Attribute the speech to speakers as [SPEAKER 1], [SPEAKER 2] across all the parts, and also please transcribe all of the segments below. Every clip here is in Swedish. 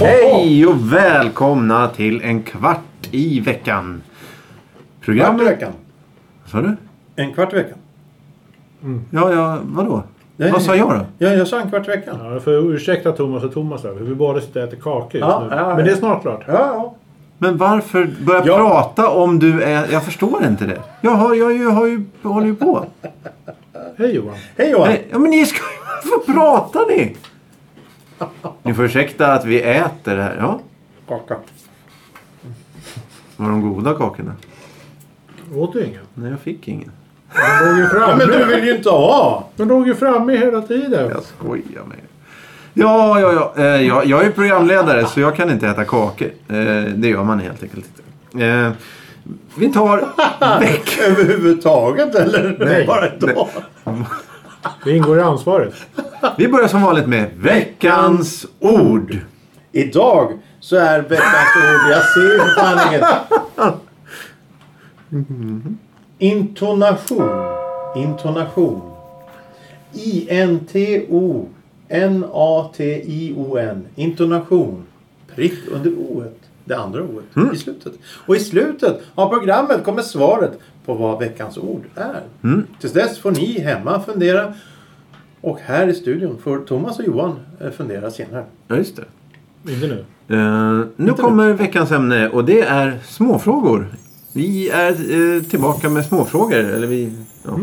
[SPEAKER 1] Hej och välkomna till en kvart i veckan.
[SPEAKER 2] Kvart i
[SPEAKER 1] Programmet...
[SPEAKER 2] veckan.
[SPEAKER 1] Vad sa du?
[SPEAKER 2] En kvart i veckan.
[SPEAKER 1] Ja, ja, vadå?
[SPEAKER 2] Nej.
[SPEAKER 1] Vad sa jag då?
[SPEAKER 2] Ja, jag sa en kvart i veckan.
[SPEAKER 3] Ja, för ursäkta Thomas och Thomas där, för vi båda sitter och äter kakor just
[SPEAKER 2] Ja,
[SPEAKER 3] nu.
[SPEAKER 2] ja, ja.
[SPEAKER 3] Men det är snart klart.
[SPEAKER 2] Ja, ja.
[SPEAKER 1] Men varför börja
[SPEAKER 2] Ja.
[SPEAKER 1] prata om du är... Jag förstår inte det. Jag, har, jag, jag har ju, håller ju på.
[SPEAKER 3] Hej Johan.
[SPEAKER 2] Hej Johan!
[SPEAKER 1] Nej, ja, men ni ska ju... Varför pratar ni? Ni får ursäkta att vi äter här. Ja,
[SPEAKER 2] Kaka.
[SPEAKER 1] var de goda kakorna?
[SPEAKER 3] Åt du ingen?
[SPEAKER 1] Nej, jag fick ingen.
[SPEAKER 3] De låg ju
[SPEAKER 2] Ja, men
[SPEAKER 3] framme.
[SPEAKER 2] du vill ju inte ha!
[SPEAKER 3] De låg ju framme hela tiden.
[SPEAKER 1] Jag skojar med er. Ja, ja, ja. Eh, jag, jag är ju programledare så jag kan inte äta kakor. Eh, det gör man helt enkelt inte. Eh, vi tar veck.
[SPEAKER 2] Överhuvudtaget eller?
[SPEAKER 3] Nej.
[SPEAKER 2] Bara idag?
[SPEAKER 3] Det ingår i ansvaret.
[SPEAKER 1] Vi börjar som vanligt med veckans ord.
[SPEAKER 2] Idag så är veckans ord, jag ser för fan inget. Intonation. Intonation. I-N-T-O-N-A-T-I-O-N. Intonation. Prick under O-et. Det andra O-et. I slutet. Och i slutet av programmet kommer svaret på vad veckans ord är. Tills dess får ni hemma fundera. Och här i studion får Thomas och Johan eh, fundera senare.
[SPEAKER 1] Ja, just det.
[SPEAKER 3] Inte nu.
[SPEAKER 1] Eh, nu kommer veckans ämne och det är småfrågor. Vi är eh, tillbaka med småfrågor. Eller vi, ja.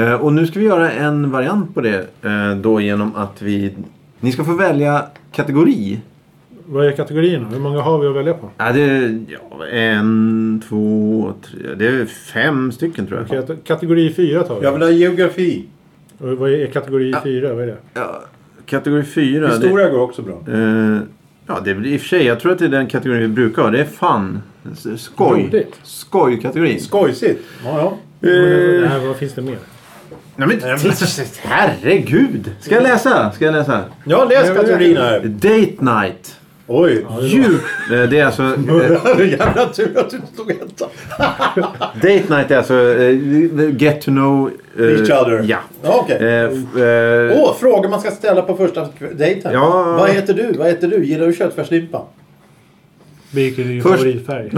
[SPEAKER 1] Eh, och nu ska vi göra en variant på det. Eh, då genom att vi... Ni ska få välja kategori.
[SPEAKER 3] Vad är kategorierna? Hur många har vi att välja på?
[SPEAKER 1] Ja, det är ja, en, två, tre. Det är fem stycken tror jag.
[SPEAKER 3] Kate- Kategori 4 tar vi.
[SPEAKER 2] Jag vill ha geografi.
[SPEAKER 3] Och vad är kategori 4? Vad är det?
[SPEAKER 1] Ja, kategori fyra.
[SPEAKER 2] Historia går också bra.
[SPEAKER 1] Det, eh, ja, det är väl i och för sig. Jag tror att det är den kategorin vi brukar ha. Det är fun. S- Skoj.
[SPEAKER 3] Roligt.
[SPEAKER 1] Skojkategorin.
[SPEAKER 2] Skojsigt. Ja, ja.
[SPEAKER 3] Men, eh, vad finns det mer?
[SPEAKER 1] Nej, men, herregud! Ska jag läsa? Ska jag läsa?
[SPEAKER 2] Jag har läst
[SPEAKER 3] Nej, men-
[SPEAKER 2] kategorin här.
[SPEAKER 1] Date night.
[SPEAKER 2] Oj.
[SPEAKER 1] Djup. Eh, Det är alltså... eh,
[SPEAKER 2] Jävla tur att du inte stod etta.
[SPEAKER 1] Date night är alltså eh, get to know... eh,
[SPEAKER 2] Each other.
[SPEAKER 1] Ja.
[SPEAKER 2] Ja, Okej.
[SPEAKER 1] Eh, f- eh,
[SPEAKER 2] Åh, frågor man ska ställa på första kv- dejten.
[SPEAKER 1] Ja.
[SPEAKER 2] Vad heter du? Vad heter du? Gillar du köttfärslimpa?
[SPEAKER 3] Vilken är din
[SPEAKER 1] Först-
[SPEAKER 3] favoritfärg?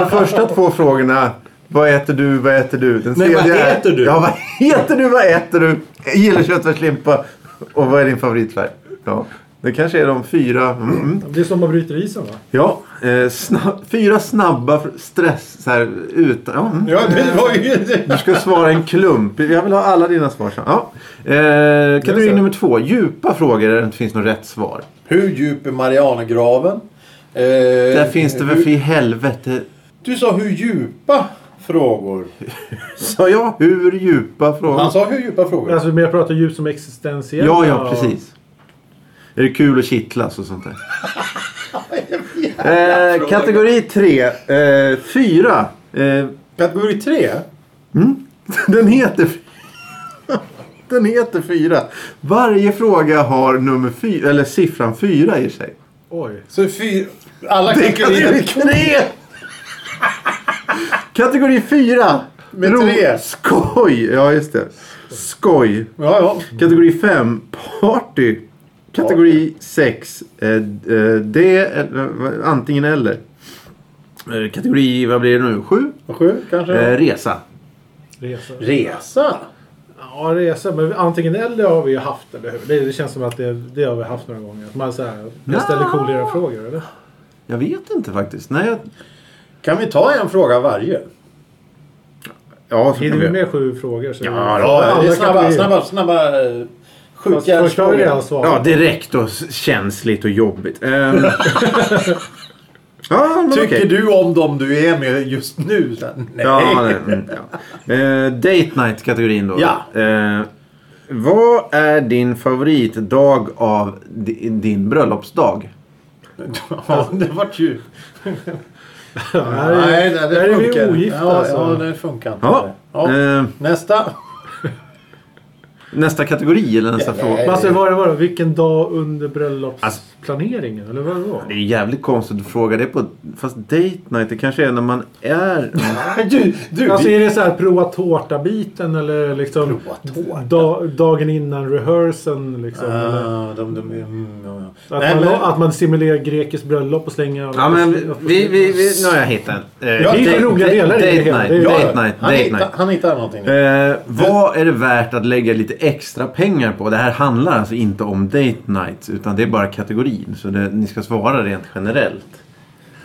[SPEAKER 1] De första två frågorna. Vad äter du? Vad äter du? Den
[SPEAKER 2] Nej, vad
[SPEAKER 1] tredje är-
[SPEAKER 2] heter du?
[SPEAKER 1] Ja, vad heter du? Vad äter du? Jag gillar köttfärslimpa. Och vad är din favoritfärg? Ja, det kanske är de fyra. Mm.
[SPEAKER 3] Det är som man bryter isen va?
[SPEAKER 1] Ja, eh, snabb, fyra snabba fr- stress så här utan. Ja, mm.
[SPEAKER 2] Ja, det var ju...
[SPEAKER 1] Du ska svara en klump. Jag vill ha alla dina svar. sen. Ja. Eh, kategori nummer två. Djupa frågor där det inte finns något rätt svar.
[SPEAKER 2] Hur djup är Marianergraven? Eh,
[SPEAKER 1] Där finns det väl för i helvete.
[SPEAKER 2] Du sa hur djupa frågor.
[SPEAKER 1] Sa jag hur djupa frågor?
[SPEAKER 2] Han sa hur djupa frågor.
[SPEAKER 3] Alltså mer pratar djupt som existentiella.
[SPEAKER 1] Ja, ja, precis. Är det kul att kittlas och sånt där? eh, kategori tre. Eh, fyra. Eh,
[SPEAKER 2] Kategori tre.
[SPEAKER 1] den heter... den heter fyra. Varje fråga har nummer fyra, eller siffran fyra i sig.
[SPEAKER 3] Oj.
[SPEAKER 2] Så fyra... Alla kategorier.
[SPEAKER 1] Kategori tre! kategori fyra.
[SPEAKER 2] Med
[SPEAKER 1] Ro-
[SPEAKER 2] tre.
[SPEAKER 1] Skoj! Ja, just det. Skoj.
[SPEAKER 2] Ja, ja.
[SPEAKER 1] Kategori 5, party. Kategori 6, eh, eh, det eller, eh, antingen eller. Eh, Kategori, vad blir det nu? 7?
[SPEAKER 2] Sju kanske?
[SPEAKER 1] Eh, resa.
[SPEAKER 3] Resa.
[SPEAKER 2] Resa?
[SPEAKER 3] Ja, resa. Men antingen eller har vi ju haft, eller hur? Det, det känns som att det, det har vi haft några gånger. Att man så här, jag ställer coolare frågor, eller?
[SPEAKER 1] Jag vet inte faktiskt. Nej, jag...
[SPEAKER 2] Kan vi ta en fråga varje?
[SPEAKER 1] Ja, så
[SPEAKER 3] Hinner
[SPEAKER 1] kan
[SPEAKER 3] vi
[SPEAKER 1] vi.
[SPEAKER 3] med sju frågor så...
[SPEAKER 1] Ja, då.
[SPEAKER 2] Ja, det är
[SPEAKER 3] alla
[SPEAKER 2] snabba,
[SPEAKER 3] kategorier.
[SPEAKER 2] snabba, snabba eh,
[SPEAKER 3] Fast
[SPEAKER 2] sjuka
[SPEAKER 3] Först har
[SPEAKER 2] frågor.
[SPEAKER 3] vi alltså. redan svarat.
[SPEAKER 1] ja, direkt och s- känsligt och jobbigt. Ehm. ja, men
[SPEAKER 2] Tycker
[SPEAKER 1] okej.
[SPEAKER 2] du om dem du är med just nu? Så här, Nej.
[SPEAKER 1] Ja, nej, mm, ja. Eh, date night-kategorin då.
[SPEAKER 2] Ja.
[SPEAKER 1] Eh, vad är din favoritdag av di- din bröllopsdag?
[SPEAKER 2] Ja, det vart ju...
[SPEAKER 3] Det här är- det här är vi ogifta
[SPEAKER 2] ja, Eh.
[SPEAKER 3] alltså.
[SPEAKER 2] ja, det funkar inte.
[SPEAKER 1] Ja.
[SPEAKER 2] Ja.
[SPEAKER 1] Eh,
[SPEAKER 2] Nästa.
[SPEAKER 1] Nästa kategori eller nästa fråga?
[SPEAKER 3] Men alltså, var det, var det, vilken dag under bröllopsplaneringen? Eller vad det var?
[SPEAKER 2] Alltså,
[SPEAKER 1] Det är ju jävligt konstigt att fråga det på... Fast date night, det kanske är när man är...
[SPEAKER 2] Du, du,
[SPEAKER 3] Alltså
[SPEAKER 2] vi-
[SPEAKER 3] är det så här prova tårta-biten eller liksom
[SPEAKER 2] Prova tårta?
[SPEAKER 3] da, dagen innan rehearsen liksom? eller
[SPEAKER 2] Ah, de, de, mm, ja, ja.
[SPEAKER 3] Att,
[SPEAKER 2] Nej,
[SPEAKER 3] man,
[SPEAKER 2] men,
[SPEAKER 3] att man simulerar grekiskt bröllop och slänger...
[SPEAKER 1] Ja men vi, vi, vi, vi, nu har jag hittat en. Eh,
[SPEAKER 2] Ja, det är
[SPEAKER 1] date-
[SPEAKER 3] roliga delar i det
[SPEAKER 1] Date
[SPEAKER 3] hela. Det är-
[SPEAKER 1] night,
[SPEAKER 2] Ja,
[SPEAKER 1] date night,
[SPEAKER 2] han,
[SPEAKER 1] date
[SPEAKER 2] hittar-
[SPEAKER 1] night.
[SPEAKER 2] han hittar någonting. nu.
[SPEAKER 1] Eh, vad är det värt att lägga lite extra pengar på? Det här handlar alltså inte om date night utan det är bara kategorin. Så det, ni ska svara rent generellt.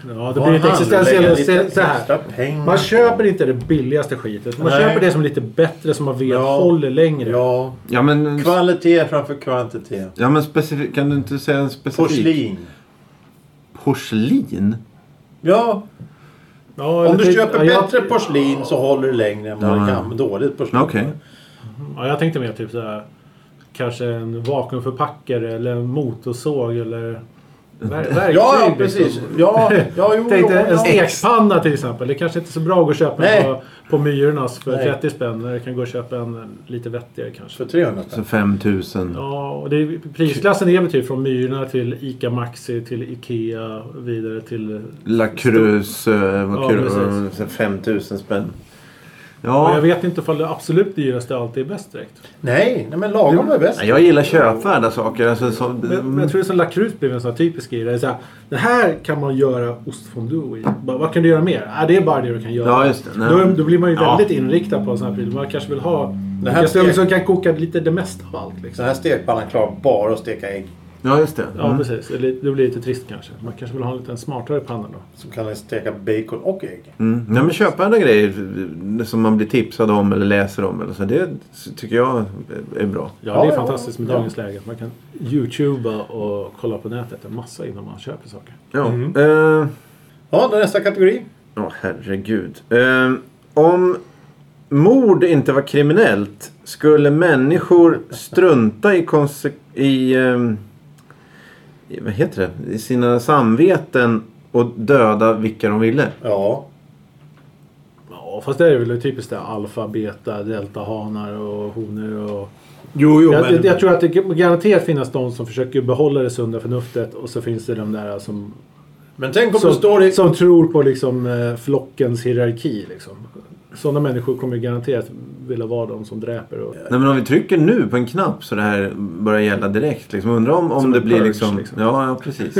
[SPEAKER 3] Ja, det
[SPEAKER 2] Vad
[SPEAKER 3] blir inte
[SPEAKER 2] han lägger
[SPEAKER 3] existentiellt.
[SPEAKER 2] lite
[SPEAKER 3] Se- Så
[SPEAKER 2] extra
[SPEAKER 3] här.
[SPEAKER 2] pengar
[SPEAKER 3] Man
[SPEAKER 2] på.
[SPEAKER 3] köper inte det billigaste skitet. Man
[SPEAKER 2] Nej.
[SPEAKER 3] köper det som är lite bättre som man vet
[SPEAKER 2] Ja.
[SPEAKER 3] håller längre.
[SPEAKER 2] Ja,
[SPEAKER 1] Ja men,
[SPEAKER 2] kvalitet framför kvantitet.
[SPEAKER 1] ja, men specifik, kan du inte säga en specifik?
[SPEAKER 2] Porslin.
[SPEAKER 1] Porslin?
[SPEAKER 2] Ja,
[SPEAKER 3] Ja,
[SPEAKER 2] om
[SPEAKER 3] eller
[SPEAKER 2] du
[SPEAKER 3] typ-
[SPEAKER 2] köper
[SPEAKER 3] ja, jag-
[SPEAKER 2] bättre porslin så håller du längre än vad
[SPEAKER 1] Ja.
[SPEAKER 2] du kan dåligt porslin.
[SPEAKER 1] Okej.
[SPEAKER 3] Ja, jag tänkte mer typ så här. Kanske en vakuumförpackare eller en motorsåg eller... Ver- verktyg,
[SPEAKER 2] Ja, ja,
[SPEAKER 3] liksom.
[SPEAKER 2] precis. Ja, ja, jo, jo,
[SPEAKER 3] Tänkte en
[SPEAKER 2] ja.
[SPEAKER 3] stekpanna till exempel. Det kanske inte är så bra att gå och köpa
[SPEAKER 2] Nej.
[SPEAKER 3] en på, på Myrornas för
[SPEAKER 2] Nej.
[SPEAKER 3] 30 spänn. Jag kan gå och köpa en lite vettigare kanske.
[SPEAKER 2] För 300
[SPEAKER 1] Så
[SPEAKER 2] spänn.
[SPEAKER 1] 5000.
[SPEAKER 3] Ja, och det är, prisklassen är väl typ från Myrorna till ICA Maxi till IKEA vidare till...
[SPEAKER 1] La Cruz. eh,
[SPEAKER 3] Ja,
[SPEAKER 1] Vad kul.
[SPEAKER 3] precis.
[SPEAKER 1] Ja, 5000 spänn.
[SPEAKER 3] Och jag
[SPEAKER 1] Ja.
[SPEAKER 3] vet inte ifall det absolut dyraste alltid är bäst direkt.
[SPEAKER 2] Nej, nej, men lagom är bäst.
[SPEAKER 1] Nej, Jag gillar köpvärda saker. Alltså, så,
[SPEAKER 3] Men, men jag tror det är som lakrut blev en sån här typisk grej. där det är så här, Den här kan man göra ostfondue i. Bara, vad kan du göra mer? Ah, det är bara det du kan göra.
[SPEAKER 1] Ja, just det. Nej.
[SPEAKER 3] Då, då blir man ju
[SPEAKER 1] Ja.
[SPEAKER 3] väldigt inriktad på en sån här pryl. Man kanske vill ha...
[SPEAKER 2] Det här-
[SPEAKER 3] Jag skulle liksom kan koka lite det mesta av allt. Liksom. Mm.
[SPEAKER 2] Den här stekpannan klarar bara att steka ägg.
[SPEAKER 1] Ja, just det.
[SPEAKER 3] Ja, precis. Det blir det blir lite trist kanske. Man kanske vill ha en lite smartare panna då.
[SPEAKER 2] Så kan den steka bacon och ägg.
[SPEAKER 1] Mm. Nej, men köpvärda grejer eh, som man blir tipsad om eller läser om. Eller så, det tycker jag är bra.
[SPEAKER 3] Ja,
[SPEAKER 2] Ja,
[SPEAKER 3] det är
[SPEAKER 2] ja,
[SPEAKER 3] fantastiskt med
[SPEAKER 2] ja.
[SPEAKER 3] dagens läge. Man kan youtuba och kolla på nätet en massa innan man köper saker.
[SPEAKER 1] Ja.
[SPEAKER 3] Mm.
[SPEAKER 1] Eh,
[SPEAKER 2] Ja, då nästa kategori.
[SPEAKER 1] Ja, herregud. Eh, om mord inte var kriminellt skulle människor strunta i, konse- i, ehm, i vad heter det? I sina samveten och döda vilka de ville.
[SPEAKER 2] Ja.
[SPEAKER 3] Ja, fast det är väl typiskt det. Alfa, beta, delta, hanar och honor och...
[SPEAKER 2] Jo, jo,
[SPEAKER 3] Jag, jag, jag tror att det garanterat finns de som försöker behålla det sunda förnuftet och så finns det de där som,
[SPEAKER 2] Men tänk om det står
[SPEAKER 3] som,
[SPEAKER 2] i...
[SPEAKER 3] som tror på liksom, eh, flockens hierarki. Liksom. Sådana människor kommer ju garanterat vilja vara de som dräper. Och,
[SPEAKER 1] Nej, men om vi trycker nu på en knapp så det här börjar gälla direkt. Liksom. Undrar om, om
[SPEAKER 3] Som
[SPEAKER 1] det
[SPEAKER 3] en
[SPEAKER 1] blir
[SPEAKER 3] purge,
[SPEAKER 1] liksom...
[SPEAKER 3] liksom.
[SPEAKER 1] Ja, ja precis.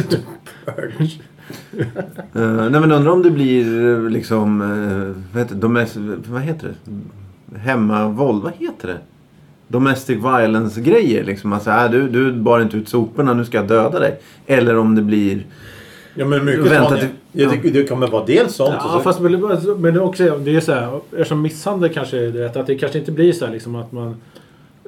[SPEAKER 1] Eh, nej men undrar om det blir eh, liksom... eh, vad, heter, domes, vad heter det? Hemmavåld. Vad heter det? Domestic violence-grejer. Liksom. Alltså, äh, du, du bar inte ut soporna, nu ska jag döda dig. Eller om det blir...
[SPEAKER 2] Ja, men mycket
[SPEAKER 1] Vänta
[SPEAKER 2] sånt.
[SPEAKER 1] till-
[SPEAKER 2] Jag tycker det kommer vara dels sånt och
[SPEAKER 3] Ja,
[SPEAKER 2] så...
[SPEAKER 3] fast men, alltså, men det är också, det är så här, eftersom misshandel kanske är det rätta, att det kanske inte blir så här liksom att man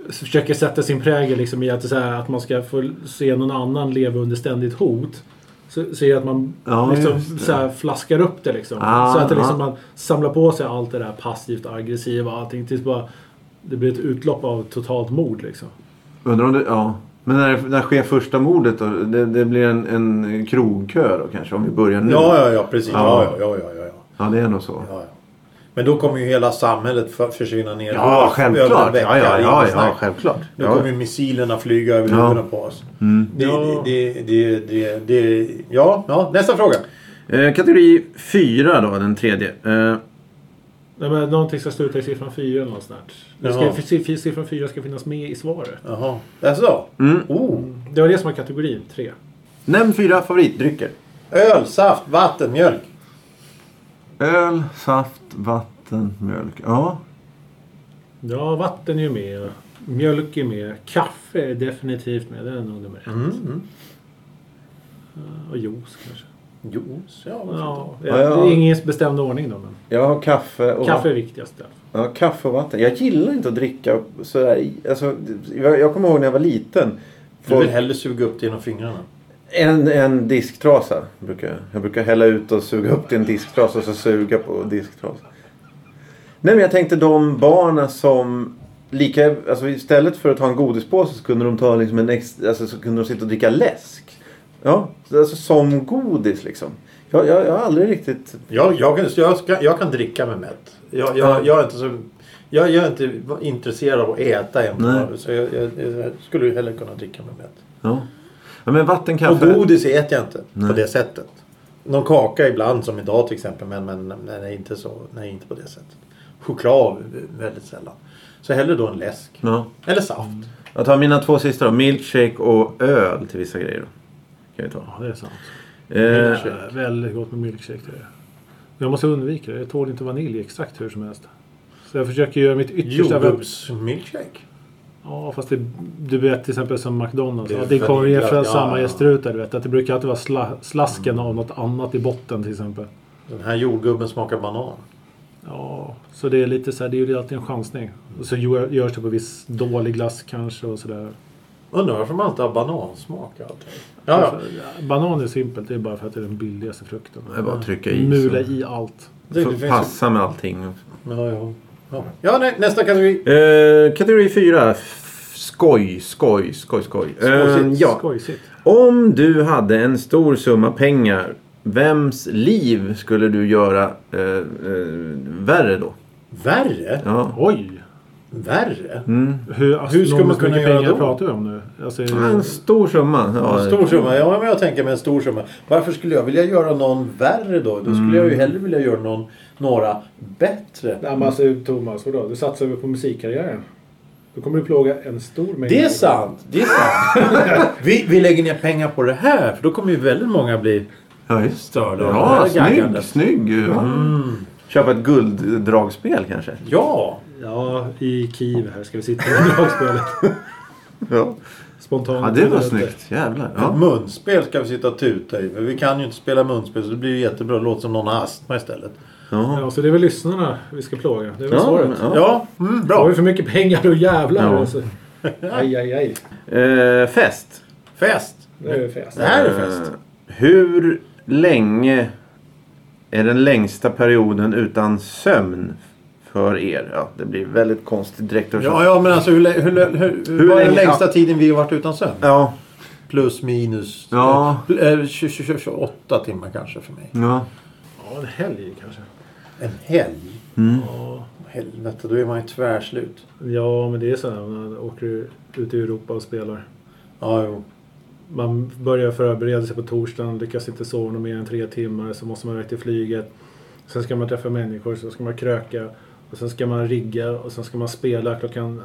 [SPEAKER 3] försöker sätta sin prägel liksom i att, så här, att man ska få se någon annan leva under ständigt hot. Så, så är det att man
[SPEAKER 1] Ja, just
[SPEAKER 3] liksom,
[SPEAKER 1] det.
[SPEAKER 3] så här, flaskar upp det liksom.
[SPEAKER 1] Ah,
[SPEAKER 3] så att det, liksom,
[SPEAKER 1] ah.
[SPEAKER 3] man samlar på sig allt det där passivt aggressiva och allting tills bara det blir ett utlopp av totalt mord liksom.
[SPEAKER 1] Undrar om det... Ja. Men när, när sker första mordet då? Det, det blir en, en krogkö då kanske? Om vi börjar nu.
[SPEAKER 2] Ja, ja, ja, precis. Ja,
[SPEAKER 1] Ja.
[SPEAKER 2] ja, ja, ja, ja, ja.
[SPEAKER 1] ja det är nog så.
[SPEAKER 2] ja, ja. Men då kommer ju hela samhället för, försvinna ner.
[SPEAKER 1] Ja, självklart. Ja, ja, ja, ja, självklart.
[SPEAKER 2] Nu
[SPEAKER 1] Ja.
[SPEAKER 2] kommer ju missilerna flyga över
[SPEAKER 1] Ja. Mm.
[SPEAKER 2] huvudena på oss. Det,
[SPEAKER 3] Ja.
[SPEAKER 2] det, det, det, det, det, ja, ja, nästa fråga.
[SPEAKER 1] Eh, kategori 4 då, den tredje. Eh,
[SPEAKER 3] Nej, men någonting ska sluta i siffran 4 eller något sånt där. Det
[SPEAKER 2] Jaha.
[SPEAKER 3] ska- siff- Siffran 4 ska finnas med i svaret.
[SPEAKER 2] Jaha, jaså?
[SPEAKER 1] Mm.
[SPEAKER 2] Oh,
[SPEAKER 3] Det var det som var kategorin 3.
[SPEAKER 1] nämn fyra favoritdrycker.
[SPEAKER 2] öl, saft, vatten, mjölk.
[SPEAKER 1] Öl, saft, vatten, mjölk. Ja.
[SPEAKER 3] Ja, vatten är ju med. Mjölk är med. Kaffe är definitivt med. Det är nog nummer ett. Eh, Och juice kanske.
[SPEAKER 2] Juice, ja. varför
[SPEAKER 3] Ja,
[SPEAKER 1] Ja,
[SPEAKER 3] Det
[SPEAKER 1] ja.
[SPEAKER 3] är ingen bestämd ordning då. Men
[SPEAKER 1] Jag har kaffe och,
[SPEAKER 3] Kaffe är viktigast. i alla fall.
[SPEAKER 1] Ja, kaffe och vatten. Jag gillar inte att dricka sådär. i- Alltså, jag, jag kommer ihåg när jag var liten.
[SPEAKER 2] inte? Du
[SPEAKER 1] Folk,
[SPEAKER 2] vill hellre suga upp det genom fingrarna.
[SPEAKER 1] en, en disktrasa brukar jag. Jag brukar hälla ut och suga upp till en disktrasa och så suga på disktrasa. Nej men jag tänkte de barna som lika, alltså istället för att ta en godispåse så kunde de ta liksom en extra, alltså så kunde de sitta och dricka läsk. Ja, alltså som godis liksom. Jag, jag, jag har aldrig riktigt
[SPEAKER 2] Jag, jag, kan, jag, ska, jag kan dricka med mätt. Jag, jag, jag är inte så... Jag, jag är inte intresserad av att äta
[SPEAKER 1] Nej.
[SPEAKER 2] än. Så jag, jag, jag skulle ju hellre kunna dricka med mätt.
[SPEAKER 1] Ja. ja men vatten,
[SPEAKER 2] Och
[SPEAKER 1] kaffe.
[SPEAKER 2] godis äter jag inte
[SPEAKER 1] Nej.
[SPEAKER 2] på det sättet. Någon kaka ibland som idag till exempel. Men, men nej, nej, inte så, nej, inte på det sättet. Choklad eh, väldigt sällan. Så hellre då en läsk.
[SPEAKER 1] Ja. Mm.
[SPEAKER 2] Eller saft.
[SPEAKER 1] Jag tar mina två sista då. Milkshake och öl till vissa grejer. Då. Kan vi ta.
[SPEAKER 3] Ja, det är sant.
[SPEAKER 1] Eh,
[SPEAKER 2] Milkshake.
[SPEAKER 3] Eh, Väldigt gott med milkshake. Det är. Jag måste undvika det. Jag tål inte vaniljextrakt hur som helst. Så jag försöker göra mitt yttersta. för att-
[SPEAKER 2] Jordgubbsmilkshake.
[SPEAKER 3] Ja, fast det, du vet till exempel som McDonalds.
[SPEAKER 2] Det är
[SPEAKER 3] Det, det kommer ju
[SPEAKER 2] vanilj,
[SPEAKER 3] från
[SPEAKER 2] ja,
[SPEAKER 3] samma
[SPEAKER 2] ja.
[SPEAKER 3] gästruta. Du vet, att det brukar alltid vara sla, slasken av något annat i botten till exempel.
[SPEAKER 2] Den här jordgubben smakar banan.
[SPEAKER 3] Ja, så det är lite så här, det är ju alltid en chansning. Och så gör- görs det på viss dålig glass kanske och sådär.
[SPEAKER 2] Undrar varför man inte har banansmak i allt. Ja, ja.
[SPEAKER 3] Alltså, Banan är simpelt, det är bara för att det är den billigaste frukten.
[SPEAKER 1] Det är bara att trycka i,
[SPEAKER 3] Mula
[SPEAKER 1] så.
[SPEAKER 3] i allt.
[SPEAKER 2] Det, det
[SPEAKER 1] Får
[SPEAKER 2] finns,
[SPEAKER 1] passa med allting.
[SPEAKER 2] ja, ja. Ja. ja nej, nästa kategori.
[SPEAKER 1] Eh, kategori 4. Skoj, skoj, skoj, skoj. Eh,
[SPEAKER 2] Skojsigt,
[SPEAKER 1] ja.
[SPEAKER 3] Skojsigt.
[SPEAKER 1] Om du hade en stor summa pengar, vems liv skulle du göra eh, eh, värre då?
[SPEAKER 2] Värre?
[SPEAKER 1] Ja.
[SPEAKER 3] Oj!
[SPEAKER 2] Värre?
[SPEAKER 3] Hur, alltså,
[SPEAKER 2] Hur ska man kunna
[SPEAKER 3] mycket
[SPEAKER 2] göra
[SPEAKER 3] pengar
[SPEAKER 2] då?
[SPEAKER 3] pratar vi om nu? Alltså,
[SPEAKER 1] En stor summa. Ja,
[SPEAKER 2] En stor summa. Ja, men jag tänker mig en stor summa. Varför skulle jag vilja göra någon värre då? Då skulle jag
[SPEAKER 1] Mm.
[SPEAKER 2] ju hellre vilja göra någon, några bättre.
[SPEAKER 3] Nej men alltså Thomas, vadå? Du satsar ju på musikkarriären. Då kommer du plåga en stor mängd.
[SPEAKER 2] Det är sant! Det är sant. vi, vi lägger ner pengar på det här för då kommer ju väldigt många bli
[SPEAKER 1] Ja, just det.
[SPEAKER 2] störda. av det
[SPEAKER 1] Ja,
[SPEAKER 2] här
[SPEAKER 1] snygg,
[SPEAKER 2] gaggandet.
[SPEAKER 1] snygg. Ja. Mm. Köpa ett gulddragspel kanske.
[SPEAKER 2] Ja!
[SPEAKER 3] Ja, i Kiev här ska vi sitta med lagspelet.
[SPEAKER 1] Ja,
[SPEAKER 3] Spontant.
[SPEAKER 1] ja det Mm. var snyggt. Jävlar.
[SPEAKER 2] Ett
[SPEAKER 1] Ja.
[SPEAKER 2] Munspel ska vi sitta och tuta i. För vi kan ju inte spela munspel så det blir ju jättebra. Det låter som någon har astma istället.
[SPEAKER 1] Ja.
[SPEAKER 3] Ja, så det är väl lyssnarna vi ska plåga. Det är väl
[SPEAKER 1] Ja,
[SPEAKER 3] svaret.
[SPEAKER 1] ja.
[SPEAKER 2] Ja, mm,
[SPEAKER 3] Har
[SPEAKER 2] bra.
[SPEAKER 3] vi för mycket pengar då jävlar
[SPEAKER 1] Ja.
[SPEAKER 3] alltså. Aj, aj, aj.
[SPEAKER 1] Eh, fest.
[SPEAKER 2] Fest!
[SPEAKER 3] Nu är det fest.
[SPEAKER 2] Det här är fest.
[SPEAKER 1] Eh, hur länge är den längsta perioden utan sömn för er? Ja, det blir väldigt konstigt direkt. och så.
[SPEAKER 2] Ja, ja men alltså hur, lä- hur, lä- hur, hur, vad är den
[SPEAKER 1] länge-
[SPEAKER 2] längsta tiden vi har varit utan sömn?
[SPEAKER 1] ja.
[SPEAKER 2] Plus minus
[SPEAKER 1] Ja.
[SPEAKER 2] eh, pl- eh, 20, 20, 28 timmar kanske för mig.
[SPEAKER 1] ja.
[SPEAKER 3] Ja, en helg kanske.
[SPEAKER 2] En helg? Helvete, då är man ju tvärslut.
[SPEAKER 3] Ja, men det är så här när man åker ut i Europa och spelar.
[SPEAKER 2] Ja, jo.
[SPEAKER 3] Man börjar förbereda sig på torsdagen, lyckas inte sova någon mer än tre timmar, så måste man iväg till flyget. Sen ska man träffa människor, så ska man kröka. Och sen ska man rigga och sen ska man spela klockan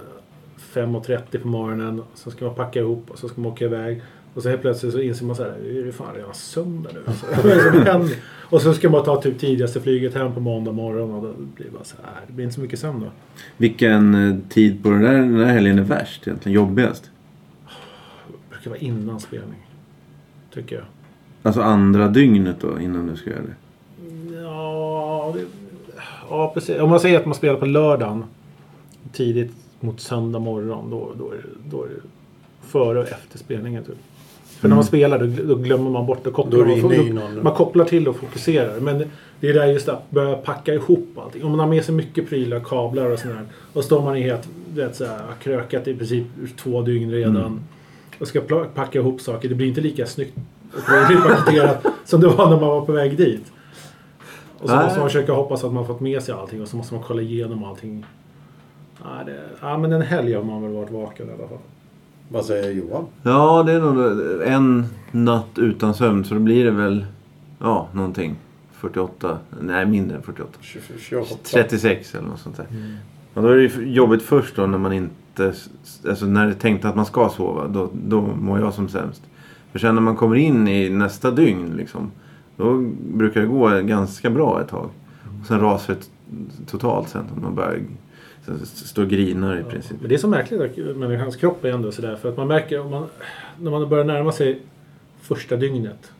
[SPEAKER 3] 5.30 på morgonen. Och sen ska man packa ihop och så ska man åka iväg. Och så helt plötsligt så inser man så här, nu är det fan redan söndag nu. Alltså, vad är det som händer? och så ska man ta typ tidigaste flyget hem på måndag morgon och då blir det bara så här, det blir inte så mycket sömn då.
[SPEAKER 1] Vilken eh, tid på den där, den där helgen är värst egentligen? Jobbigast?
[SPEAKER 3] Det brukar vara innan spelning. Tycker jag.
[SPEAKER 1] Alltså andra dygnet då innan du ska göra det?
[SPEAKER 3] Ja, det, ja, precis. Om man säger att man spelar på lördagen tidigt mot söndag morgon. Då, då, är, det- då är det före och efter spelningen. Typ. För när man spelar då, då glömmer man bort. Då kopplar
[SPEAKER 2] Mm. Då är det
[SPEAKER 3] man,
[SPEAKER 2] inne i
[SPEAKER 3] då-
[SPEAKER 2] någon-
[SPEAKER 3] man kopplar till och fokuserar. Men det är där just att börja packa ihop allting. Om man har med sig mycket prylar, kablar och sådär. Och står man i helt, du vet, så här, har krökat i princip två dygn redan. Och ska pla- packa ihop saker. Det blir inte lika snyggt och ordentligt paketerat som det var när man var på väg dit. Och så
[SPEAKER 1] Nej.
[SPEAKER 3] måste man försöka hoppas att man fått med sig allting och så måste man kolla igenom allting. Nej, det, ja, men en helg har man väl varit vaken i alla fall.
[SPEAKER 2] Vad säger Johan?
[SPEAKER 1] Ja, det är nog en natt utan sömn så då blir det väl ja, någonting. 48, nej mindre än 48.
[SPEAKER 2] 20, 28.
[SPEAKER 1] 36 eller något sånt där. Och då är det ju jobbigt först då när man inte, alltså när det är tänkt att man ska sova, då, då mår jag som sämst. För sen när man kommer in i nästa dygn liksom, då brukar det gå ganska bra ett tag. Och sen rasar det t- totalt sen, att man börjar så- så- står och grinar i princip.
[SPEAKER 3] Men det är så märkligt att människans kropp är ändå sådär. För att man märker om man, när man börjar närma sig första dygnet.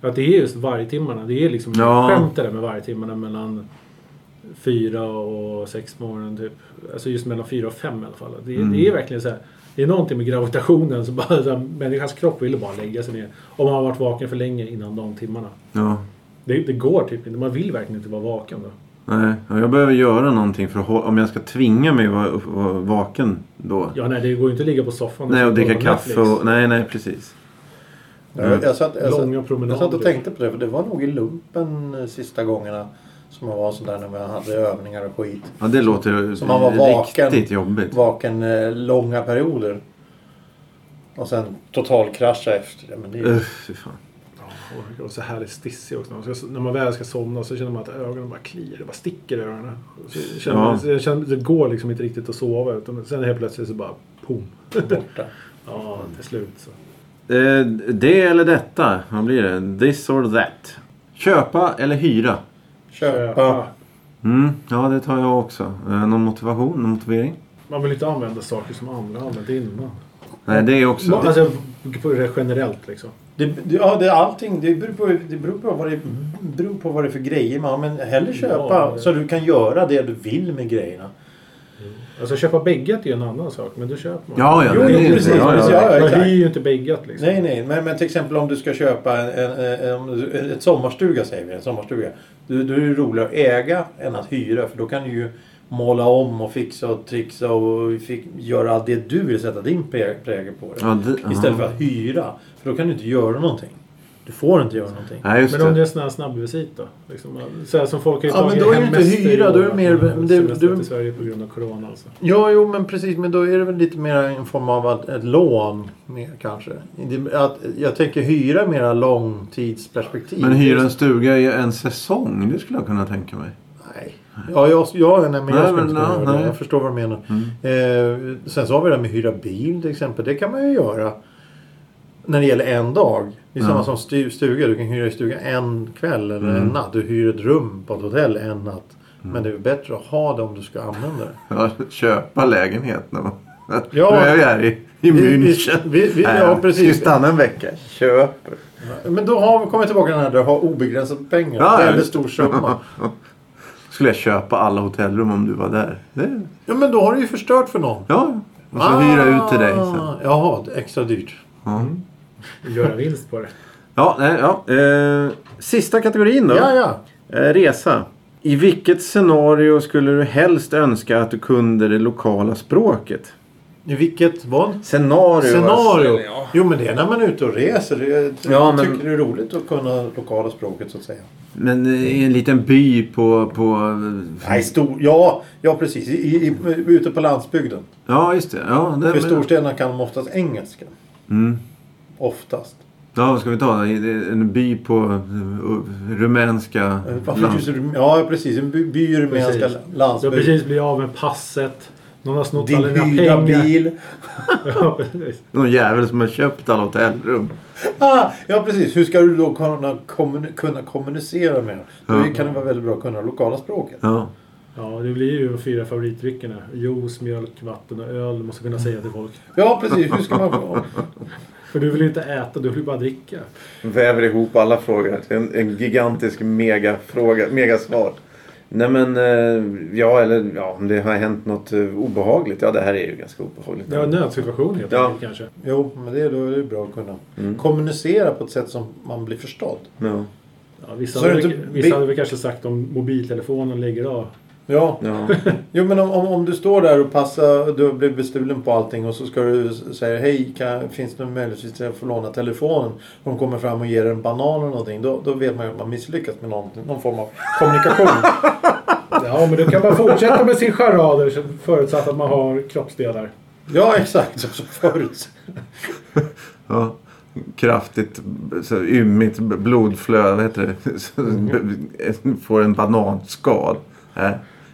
[SPEAKER 3] Att det är just vargtimmarna. Det är liksom
[SPEAKER 1] Ja.
[SPEAKER 3] skämt det där med vargtimmarna mellan fyra och sex på morgonen typ. Alltså just mellan fyra och fem i alla fall. Det, det
[SPEAKER 1] Mm.
[SPEAKER 3] är verkligen så här. Det är någonting med gravitationen som bara, så här, människans kropp vill bara lägga sig ner. Om man har varit vaken för länge innan de timmarna.
[SPEAKER 1] Ja.
[SPEAKER 3] Det, det går typ inte. Man vill verkligen inte vara vaken då.
[SPEAKER 1] Nej, ja, jag behöver göra någonting för att hå- om jag ska tvinga mig att vara upp- vara vaken då.
[SPEAKER 3] Ja, nej, det går ju inte att ligga på soffan
[SPEAKER 1] nej, och
[SPEAKER 3] kolla
[SPEAKER 1] dricka
[SPEAKER 3] på
[SPEAKER 1] kaffe
[SPEAKER 3] Netflix.
[SPEAKER 1] och... Nej, nej, precis.
[SPEAKER 2] Jag, jag, satt, jag, satt, Mm.
[SPEAKER 3] Långa promenader.
[SPEAKER 2] jag satt och tänkte på det för det var nog i lumpen eh, sista gångerna Som man var sådär när man hade övningar och skit.
[SPEAKER 1] Ja, det låter
[SPEAKER 2] Så man var vaken.
[SPEAKER 1] riktigt jobbigt.
[SPEAKER 2] Vaken eh, långa perioder. Och sen totalkrascha efter det. Men det är ju...
[SPEAKER 1] Öh, fy fan.
[SPEAKER 3] Och så härligt stissig också. När man, ska, när man väl ska somna så känner man att ögonen bara kliar. Det bara sticker i ögonen. Så känner man,
[SPEAKER 1] Ja.
[SPEAKER 3] så jag känner, det går liksom inte riktigt att sova. Utan sen helt plötsligt så bara pom.
[SPEAKER 2] borta.
[SPEAKER 3] Ja, till slut så.
[SPEAKER 1] Eh, det eller detta. Vad blir det? This or that. Köpa eller hyra.
[SPEAKER 2] Köpa.
[SPEAKER 1] Mm, ja, det tar jag också. Eh, någon motivation? Någon motivering?
[SPEAKER 3] Man vill inte använda saker som andra har använt innan.
[SPEAKER 1] Nej, det är också...
[SPEAKER 3] Alltså på det generellt liksom.
[SPEAKER 2] Det, det- ja, det, är allting, det, beror på, det, beror på vad det beror på vad det är för grejer man Men hellre köpa
[SPEAKER 3] Ja.
[SPEAKER 2] så du kan göra det du vill med grejerna.
[SPEAKER 3] Alltså köpa bäggat är ju en annan sak. Men då köper man.
[SPEAKER 1] Ja, ja.
[SPEAKER 2] Jo,
[SPEAKER 1] det
[SPEAKER 2] jo,
[SPEAKER 1] är-
[SPEAKER 2] precis,
[SPEAKER 1] ja, ja.
[SPEAKER 2] precis, ja.
[SPEAKER 3] Man
[SPEAKER 2] exakt.
[SPEAKER 3] hyr ju inte bäggat liksom.
[SPEAKER 2] Nej, nej. Men, men till exempel om du ska köpa en, en, en, en ett sommarstuga, säger vi. En sommarstuga. Då, då är det roligare att äga än att hyra. För då kan du ju måla om och fixa och trixa och fick, göra allt det du vill sätta din prä- prägel på det.
[SPEAKER 1] Ja, det-
[SPEAKER 2] Istället för
[SPEAKER 1] aha.
[SPEAKER 2] att hyra. För då kan du inte göra någonting. Du får inte göra någonting.
[SPEAKER 1] Nej, just
[SPEAKER 3] Men om det
[SPEAKER 1] det.
[SPEAKER 3] är sån här snabbvisit då? Liksom, så här som folk har ju
[SPEAKER 2] Ja,
[SPEAKER 3] tagit
[SPEAKER 2] men då är det
[SPEAKER 3] hem
[SPEAKER 2] inte
[SPEAKER 3] mest i
[SPEAKER 2] hyra, då är det
[SPEAKER 3] år
[SPEAKER 2] mer-
[SPEAKER 3] från
[SPEAKER 2] det-
[SPEAKER 3] semestern
[SPEAKER 2] det-
[SPEAKER 3] till Sverige på grund av Corona alltså.
[SPEAKER 2] Ja, jo, men precis. Men då är det väl lite mer en form av att, ett lån mer kanske. Det- Att, jag tänker hyra mera långtidsperspektiv.
[SPEAKER 1] Men hyra en stuga i en säsong, det skulle jag kunna tänka mig.
[SPEAKER 2] Nej. Ja, jag, ja, nej, men
[SPEAKER 1] Nej,
[SPEAKER 2] jag skulle
[SPEAKER 1] men
[SPEAKER 2] inte
[SPEAKER 1] ja,
[SPEAKER 2] kunna göra det.
[SPEAKER 1] nej. Mm.
[SPEAKER 2] Jag förstår vad du menar. Eh, sen så har vi det här med hyra bil till exempel. Det kan man ju göra när det gäller en dag. Det är
[SPEAKER 1] Ja. Mm.
[SPEAKER 2] samma som stu- stuga. Du kan hyra i stuga en kväll eller en natt. Du hyr ett rum på ett hotell en natt. Men det är bättre att ha det om du ska använda det.
[SPEAKER 1] Ja, köpa lägenhet nu.
[SPEAKER 2] Ja.
[SPEAKER 1] Nu är jag ju här i, i
[SPEAKER 2] vi-
[SPEAKER 1] München.
[SPEAKER 2] vi- vi-
[SPEAKER 1] Nej,
[SPEAKER 2] ja,
[SPEAKER 1] jag ska ju
[SPEAKER 2] precis.
[SPEAKER 1] stanna en vecka. Köp.
[SPEAKER 2] Men då har, kommer jag tillbaka till den här där du har obegränsat pengar.
[SPEAKER 1] Ja, ja,
[SPEAKER 2] Väldigt
[SPEAKER 1] just
[SPEAKER 2] stor summa.
[SPEAKER 1] Skulle jag köpa alla hotellrum om du var där? Det,
[SPEAKER 2] Ja, men då har du ju förstört för någon.
[SPEAKER 1] ja. Och så hyra ut till dig sen.
[SPEAKER 2] Ah, Jaha, det är extra dyrt.
[SPEAKER 3] Göra vinst på det.
[SPEAKER 1] Ja, nej, ja. Eh, sista kategorin då.
[SPEAKER 2] Ja, ja.
[SPEAKER 1] Eh, resa. I vilket scenario skulle du helst önska att du kunde det lokala språket?
[SPEAKER 2] I vilket? Vad?
[SPEAKER 1] Scenario.
[SPEAKER 2] Scenario.
[SPEAKER 1] alltså.
[SPEAKER 2] Jo men det är när man är ute och reser. Jag
[SPEAKER 1] Ja, men-
[SPEAKER 2] tycker det är roligt att kunna lokala språket så att säga.
[SPEAKER 1] Men eh, i en liten by på... på
[SPEAKER 2] Nej, stor... Ja, ja precis. I, i, i, ute på landsbygden.
[SPEAKER 1] ja, just det. Ja, det
[SPEAKER 2] För storstäderna kan de oftast engelska. Mm. Oftast.
[SPEAKER 1] Ja, vad ska vi ta? I- i- En by på eh, rumänska
[SPEAKER 2] Eh, Varför
[SPEAKER 1] land.
[SPEAKER 2] just, Rum- ja precis, en by, by i rumänska
[SPEAKER 3] Precis. Du har
[SPEAKER 2] landsbygd.
[SPEAKER 3] precis blivit av med passet. Någon har snott
[SPEAKER 2] Din
[SPEAKER 3] alla dina
[SPEAKER 2] hyrda
[SPEAKER 3] pengar.
[SPEAKER 2] bil.
[SPEAKER 3] Ja, precis.
[SPEAKER 1] Någon jävel som har köpt alla hotellrum.
[SPEAKER 2] Ah, ja precis, hur ska du då kunna, kommun, kunna kommunicera med dem? Då
[SPEAKER 1] Ja.
[SPEAKER 2] kan det vara väldigt bra att kunna lokala språket.
[SPEAKER 1] Ja.
[SPEAKER 3] ja, det blir ju de fyra favoritdryckerna. Juice, mjölk, vatten och öl. Du måste kunna säga till folk.
[SPEAKER 2] Ja precis, hur ska man...
[SPEAKER 3] För du vill ju inte äta, du vill ju bara dricka.
[SPEAKER 1] Väver ihop alla frågor till en, en gigantisk megafråga, megasvar. Nej men, eh, ja eller ja, om det har hänt något eh, obehagligt. Ja, det här är ju ganska obehagligt.
[SPEAKER 3] Ja, en nödsituation helt
[SPEAKER 1] Ja.
[SPEAKER 3] enkelt kanske.
[SPEAKER 2] Jo, men det är, då är det bra att kunna kommunicera på ett sätt som man blir förstådd.
[SPEAKER 1] Ja.
[SPEAKER 3] Ja, vissa,
[SPEAKER 2] Så är
[SPEAKER 3] hade,
[SPEAKER 2] det
[SPEAKER 3] väl-
[SPEAKER 2] inte-
[SPEAKER 3] vissa hade väl kanske sagt om mobiltelefonen lägger av.
[SPEAKER 2] Ja,
[SPEAKER 1] Ja.
[SPEAKER 2] jo men om, om, om du står där och passar, du blir bestulen på allting och så ska du s- säga hej, kan, finns det möjligtvis att få låna telefonen? De kommer fram och ger en banan eller någonting. Då, då vet man ju att man misslyckats med någon, någon form av kommunikation.
[SPEAKER 3] Ja, men då kan man fortsätta med sin charader så- förutsatt att man har kroppsdelar.
[SPEAKER 2] ja, exakt. Som som förut.
[SPEAKER 1] ja. Kraftigt, så ymmigt b- blodflöde, vad heter det? Så b- Får en bananskal. Äh.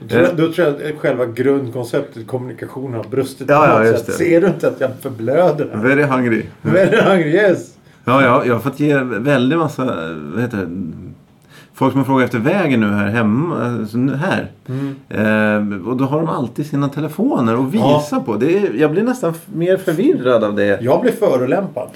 [SPEAKER 2] Tror Mm. jag- Då tror jag att själva grundkonceptet kommunikation har brustit på
[SPEAKER 1] Ja, ja,
[SPEAKER 2] något
[SPEAKER 1] just
[SPEAKER 2] sätt.
[SPEAKER 1] det.
[SPEAKER 2] Ser du inte att jag förblöder?
[SPEAKER 1] Very hungry.
[SPEAKER 2] Very hungry, yes.
[SPEAKER 1] Ja, ja, jag har fått ge väldigt massa, vad heter det? Folk som har frågat efter vägen nu här hemma. alltså nu Här. Eh, och då har de alltid sina telefoner att visa på. Det är, jag blir nästan f- mer förvirrad av det.
[SPEAKER 2] Jag blir förolämpad.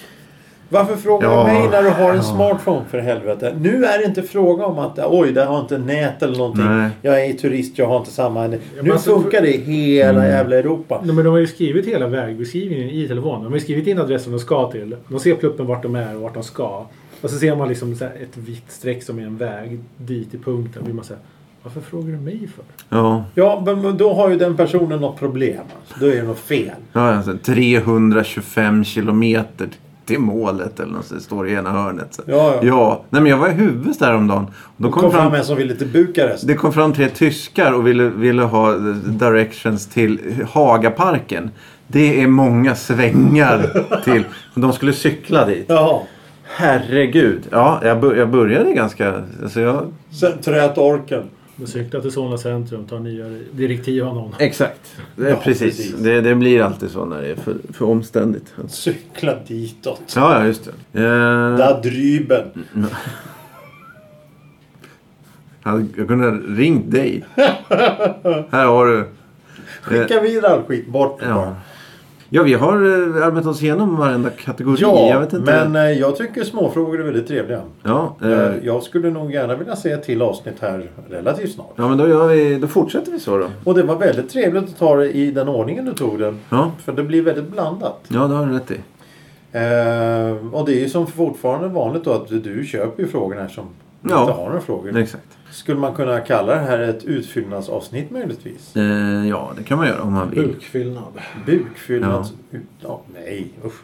[SPEAKER 2] Varför frågar
[SPEAKER 1] Ja.
[SPEAKER 2] du mig när du har en smartphone för helvete? Nu är det inte fråga om att oj, där har inte nät eller någonting.
[SPEAKER 1] Nej.
[SPEAKER 2] Jag är turist, jag har inte samma. Nu
[SPEAKER 3] men så-
[SPEAKER 2] funkar det i hela
[SPEAKER 1] Mm.
[SPEAKER 2] jävla Europa.
[SPEAKER 3] Nej, men de har ju skrivit hela vägbeskrivningen i telefonen. De har ju skrivit in adressen de ska till. De ser pluppen vart de är och vart de ska. Och så ser man liksom så här ett vitt streck som är en väg dit i punkten. Då blir man så här, varför frågar du mig för?
[SPEAKER 1] Ja,
[SPEAKER 2] Ja, men men då har ju den personen något problem. Alltså. Då är det något fel.
[SPEAKER 1] ja alltså, 325 kilometer till målet eller något sånt. Står i ena hörnet. Så.
[SPEAKER 2] Ja, ja.
[SPEAKER 1] ja. Nej, men jag var i Huvudsta häromdagen. Och då
[SPEAKER 2] Kom,
[SPEAKER 1] kom det
[SPEAKER 2] fram
[SPEAKER 1] fram,
[SPEAKER 2] en som ville till Bukarest.
[SPEAKER 1] det kom fram tre tyskar och ville, ville ha directions till Hagaparken. Det är många svängar till. De skulle cykla dit.
[SPEAKER 2] Jaha.
[SPEAKER 1] Herregud. Ja, jag, bör, jag började ganska... Alltså jag,
[SPEAKER 2] Sen tröt orken.
[SPEAKER 3] Men Cykla till Solna centrum, ta nya direktiv av någon.
[SPEAKER 1] exakt. Det är
[SPEAKER 2] Ja,
[SPEAKER 1] precis.
[SPEAKER 2] precis.
[SPEAKER 1] Det, det blir alltid så när det är för, för omständigt.
[SPEAKER 2] Cykla ditåt.
[SPEAKER 1] Ja, ja, just det. Eh,
[SPEAKER 2] Da
[SPEAKER 1] Mm.
[SPEAKER 2] Drüben.
[SPEAKER 1] hade- jag kunde ha ringt dig. Här har du.
[SPEAKER 2] Skicka vidare all skit bort
[SPEAKER 1] Eh, Ja.
[SPEAKER 2] bara.
[SPEAKER 1] ja, vi har eh, arbetat oss igenom varenda kategori. jag
[SPEAKER 2] Ja,
[SPEAKER 1] vet inte.
[SPEAKER 2] men eh, jag tycker småfrågor är väldigt trevliga.
[SPEAKER 1] Ja, eh,
[SPEAKER 2] Eh, Jag skulle nog gärna vilja se ett till avsnitt här relativt snart.
[SPEAKER 1] ja, men då, gör vi, då fortsätter vi så då.
[SPEAKER 2] Och det var väldigt trevligt att ta det i den ordningen du tog den.
[SPEAKER 1] Ja,
[SPEAKER 2] För det blir väldigt blandat.
[SPEAKER 1] ja det har du rätt i.
[SPEAKER 2] Eh, och det är ju som fortfarande vanligt då att du- du köper ju frågorna här som
[SPEAKER 1] Ja.
[SPEAKER 2] inte har några frågor.
[SPEAKER 1] Exakt.
[SPEAKER 2] Skulle man kunna kalla det här ett utfyllnadsavsnitt möjligtvis?
[SPEAKER 1] Eh, ja, det kan man göra om man vill.
[SPEAKER 3] Bukfyllnad.
[SPEAKER 2] Bukfyllnads... Ja. ja, nej, usch.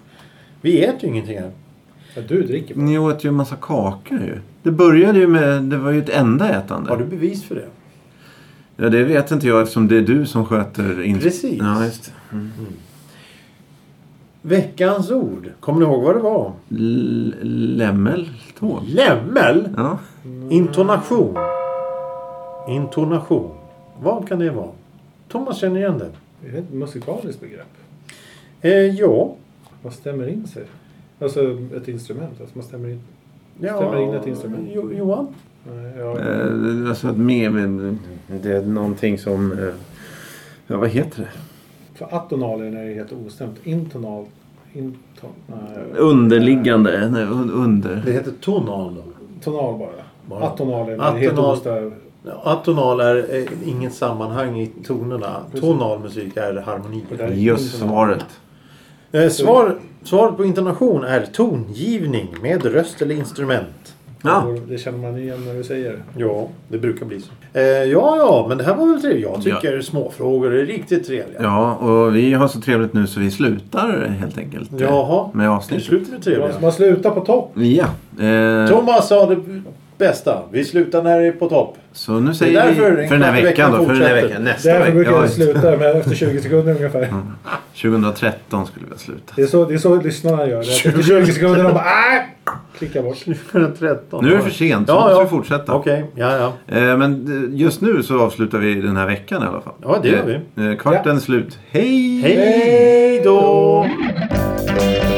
[SPEAKER 2] Vi äter ju ingenting här.
[SPEAKER 3] Ja, du dricker bara.
[SPEAKER 1] Ni åt ju en massa kakor ju. Det började ju med... Det var ju ett enda ätande.
[SPEAKER 2] Har du bevis för det?
[SPEAKER 1] Ja, det vet inte jag eftersom det är du som sköter... In...
[SPEAKER 2] Precis.
[SPEAKER 1] Ja, just det.
[SPEAKER 2] Veckans ord. Kommer ni ihåg vad det var?
[SPEAKER 1] L- lämmeltåg.
[SPEAKER 2] Lämmel?
[SPEAKER 1] Ja.
[SPEAKER 2] Intonation. Intonation. Vad kan det vara? Thomas känner igen det.
[SPEAKER 3] Är det ett musikaliskt begrepp?
[SPEAKER 2] Eh, ja.
[SPEAKER 3] Man stämmer in sig. Alltså ett instrument. Alltså man stämmer in.
[SPEAKER 2] ja.
[SPEAKER 3] Stämmer in ett instrument.
[SPEAKER 2] Jo, Johan?
[SPEAKER 3] Nej, ja.
[SPEAKER 1] Eh, alltså att med, med... Det är någonting som... Eh... Ja, vad heter det?
[SPEAKER 3] För atonal är när det är helt ostämt. Intonal... Inton, nej,
[SPEAKER 1] Underliggande. Nej, un-
[SPEAKER 2] Det
[SPEAKER 1] under.
[SPEAKER 2] heter tonal då.
[SPEAKER 3] tonal bara.
[SPEAKER 2] Bara.
[SPEAKER 3] Atonal är när det är helt
[SPEAKER 2] Atonal.
[SPEAKER 3] ostämt.
[SPEAKER 2] Atonal är eh, inget sammanhang i tonerna. Tonal musik är harmoni.
[SPEAKER 3] Och där-
[SPEAKER 1] Just svaret.
[SPEAKER 2] Eh, svar, svaret på intonation är tongivning med röst eller instrument.
[SPEAKER 1] Ja.
[SPEAKER 3] Det känner man igen när du säger det.
[SPEAKER 2] Ja, det brukar bli så. Eh, ja, ja, men det här var väl trevligt. Jag tycker småfrågor är riktigt trevliga.
[SPEAKER 1] Ja, och vi har så trevligt nu så vi slutar helt enkelt. eh,
[SPEAKER 2] Jaha.
[SPEAKER 1] Med
[SPEAKER 2] Det är
[SPEAKER 1] avsnittet.
[SPEAKER 2] slut med trevliga.
[SPEAKER 3] Man, man slutar på topp.
[SPEAKER 1] Ja. Eh,
[SPEAKER 2] Thomas sa det bästa. Vi slutar när det är på topp.
[SPEAKER 1] så nu
[SPEAKER 2] Det är
[SPEAKER 1] säger vi...
[SPEAKER 2] därför den
[SPEAKER 1] För den här
[SPEAKER 2] knappa
[SPEAKER 1] veckan då.
[SPEAKER 2] veckan
[SPEAKER 1] För den här
[SPEAKER 2] fortsätter.
[SPEAKER 1] veckan. Nästa
[SPEAKER 3] Därför brukar
[SPEAKER 1] vecka.
[SPEAKER 3] vi sluta med efter 20 sekunder ungefär.
[SPEAKER 2] Mm.
[SPEAKER 1] 2013 skulle vi ha slutat.
[SPEAKER 3] Det, är så, det är så lyssnarna gör. Det är Efter 20 sekunder de bara "Nej!" klickar bort.
[SPEAKER 2] 13.
[SPEAKER 1] Nu är det för sent så
[SPEAKER 2] Ja,
[SPEAKER 1] måste
[SPEAKER 2] ja.
[SPEAKER 1] vi fortsätta.
[SPEAKER 2] Okej, ja, ja.
[SPEAKER 1] Eh, Men eh, just nu så avslutar vi den här veckan i alla fall.
[SPEAKER 2] Ja, det gör vi.
[SPEAKER 1] Eh, eh, Kvarten slut. Hej!
[SPEAKER 2] Hej då!
[SPEAKER 3] då.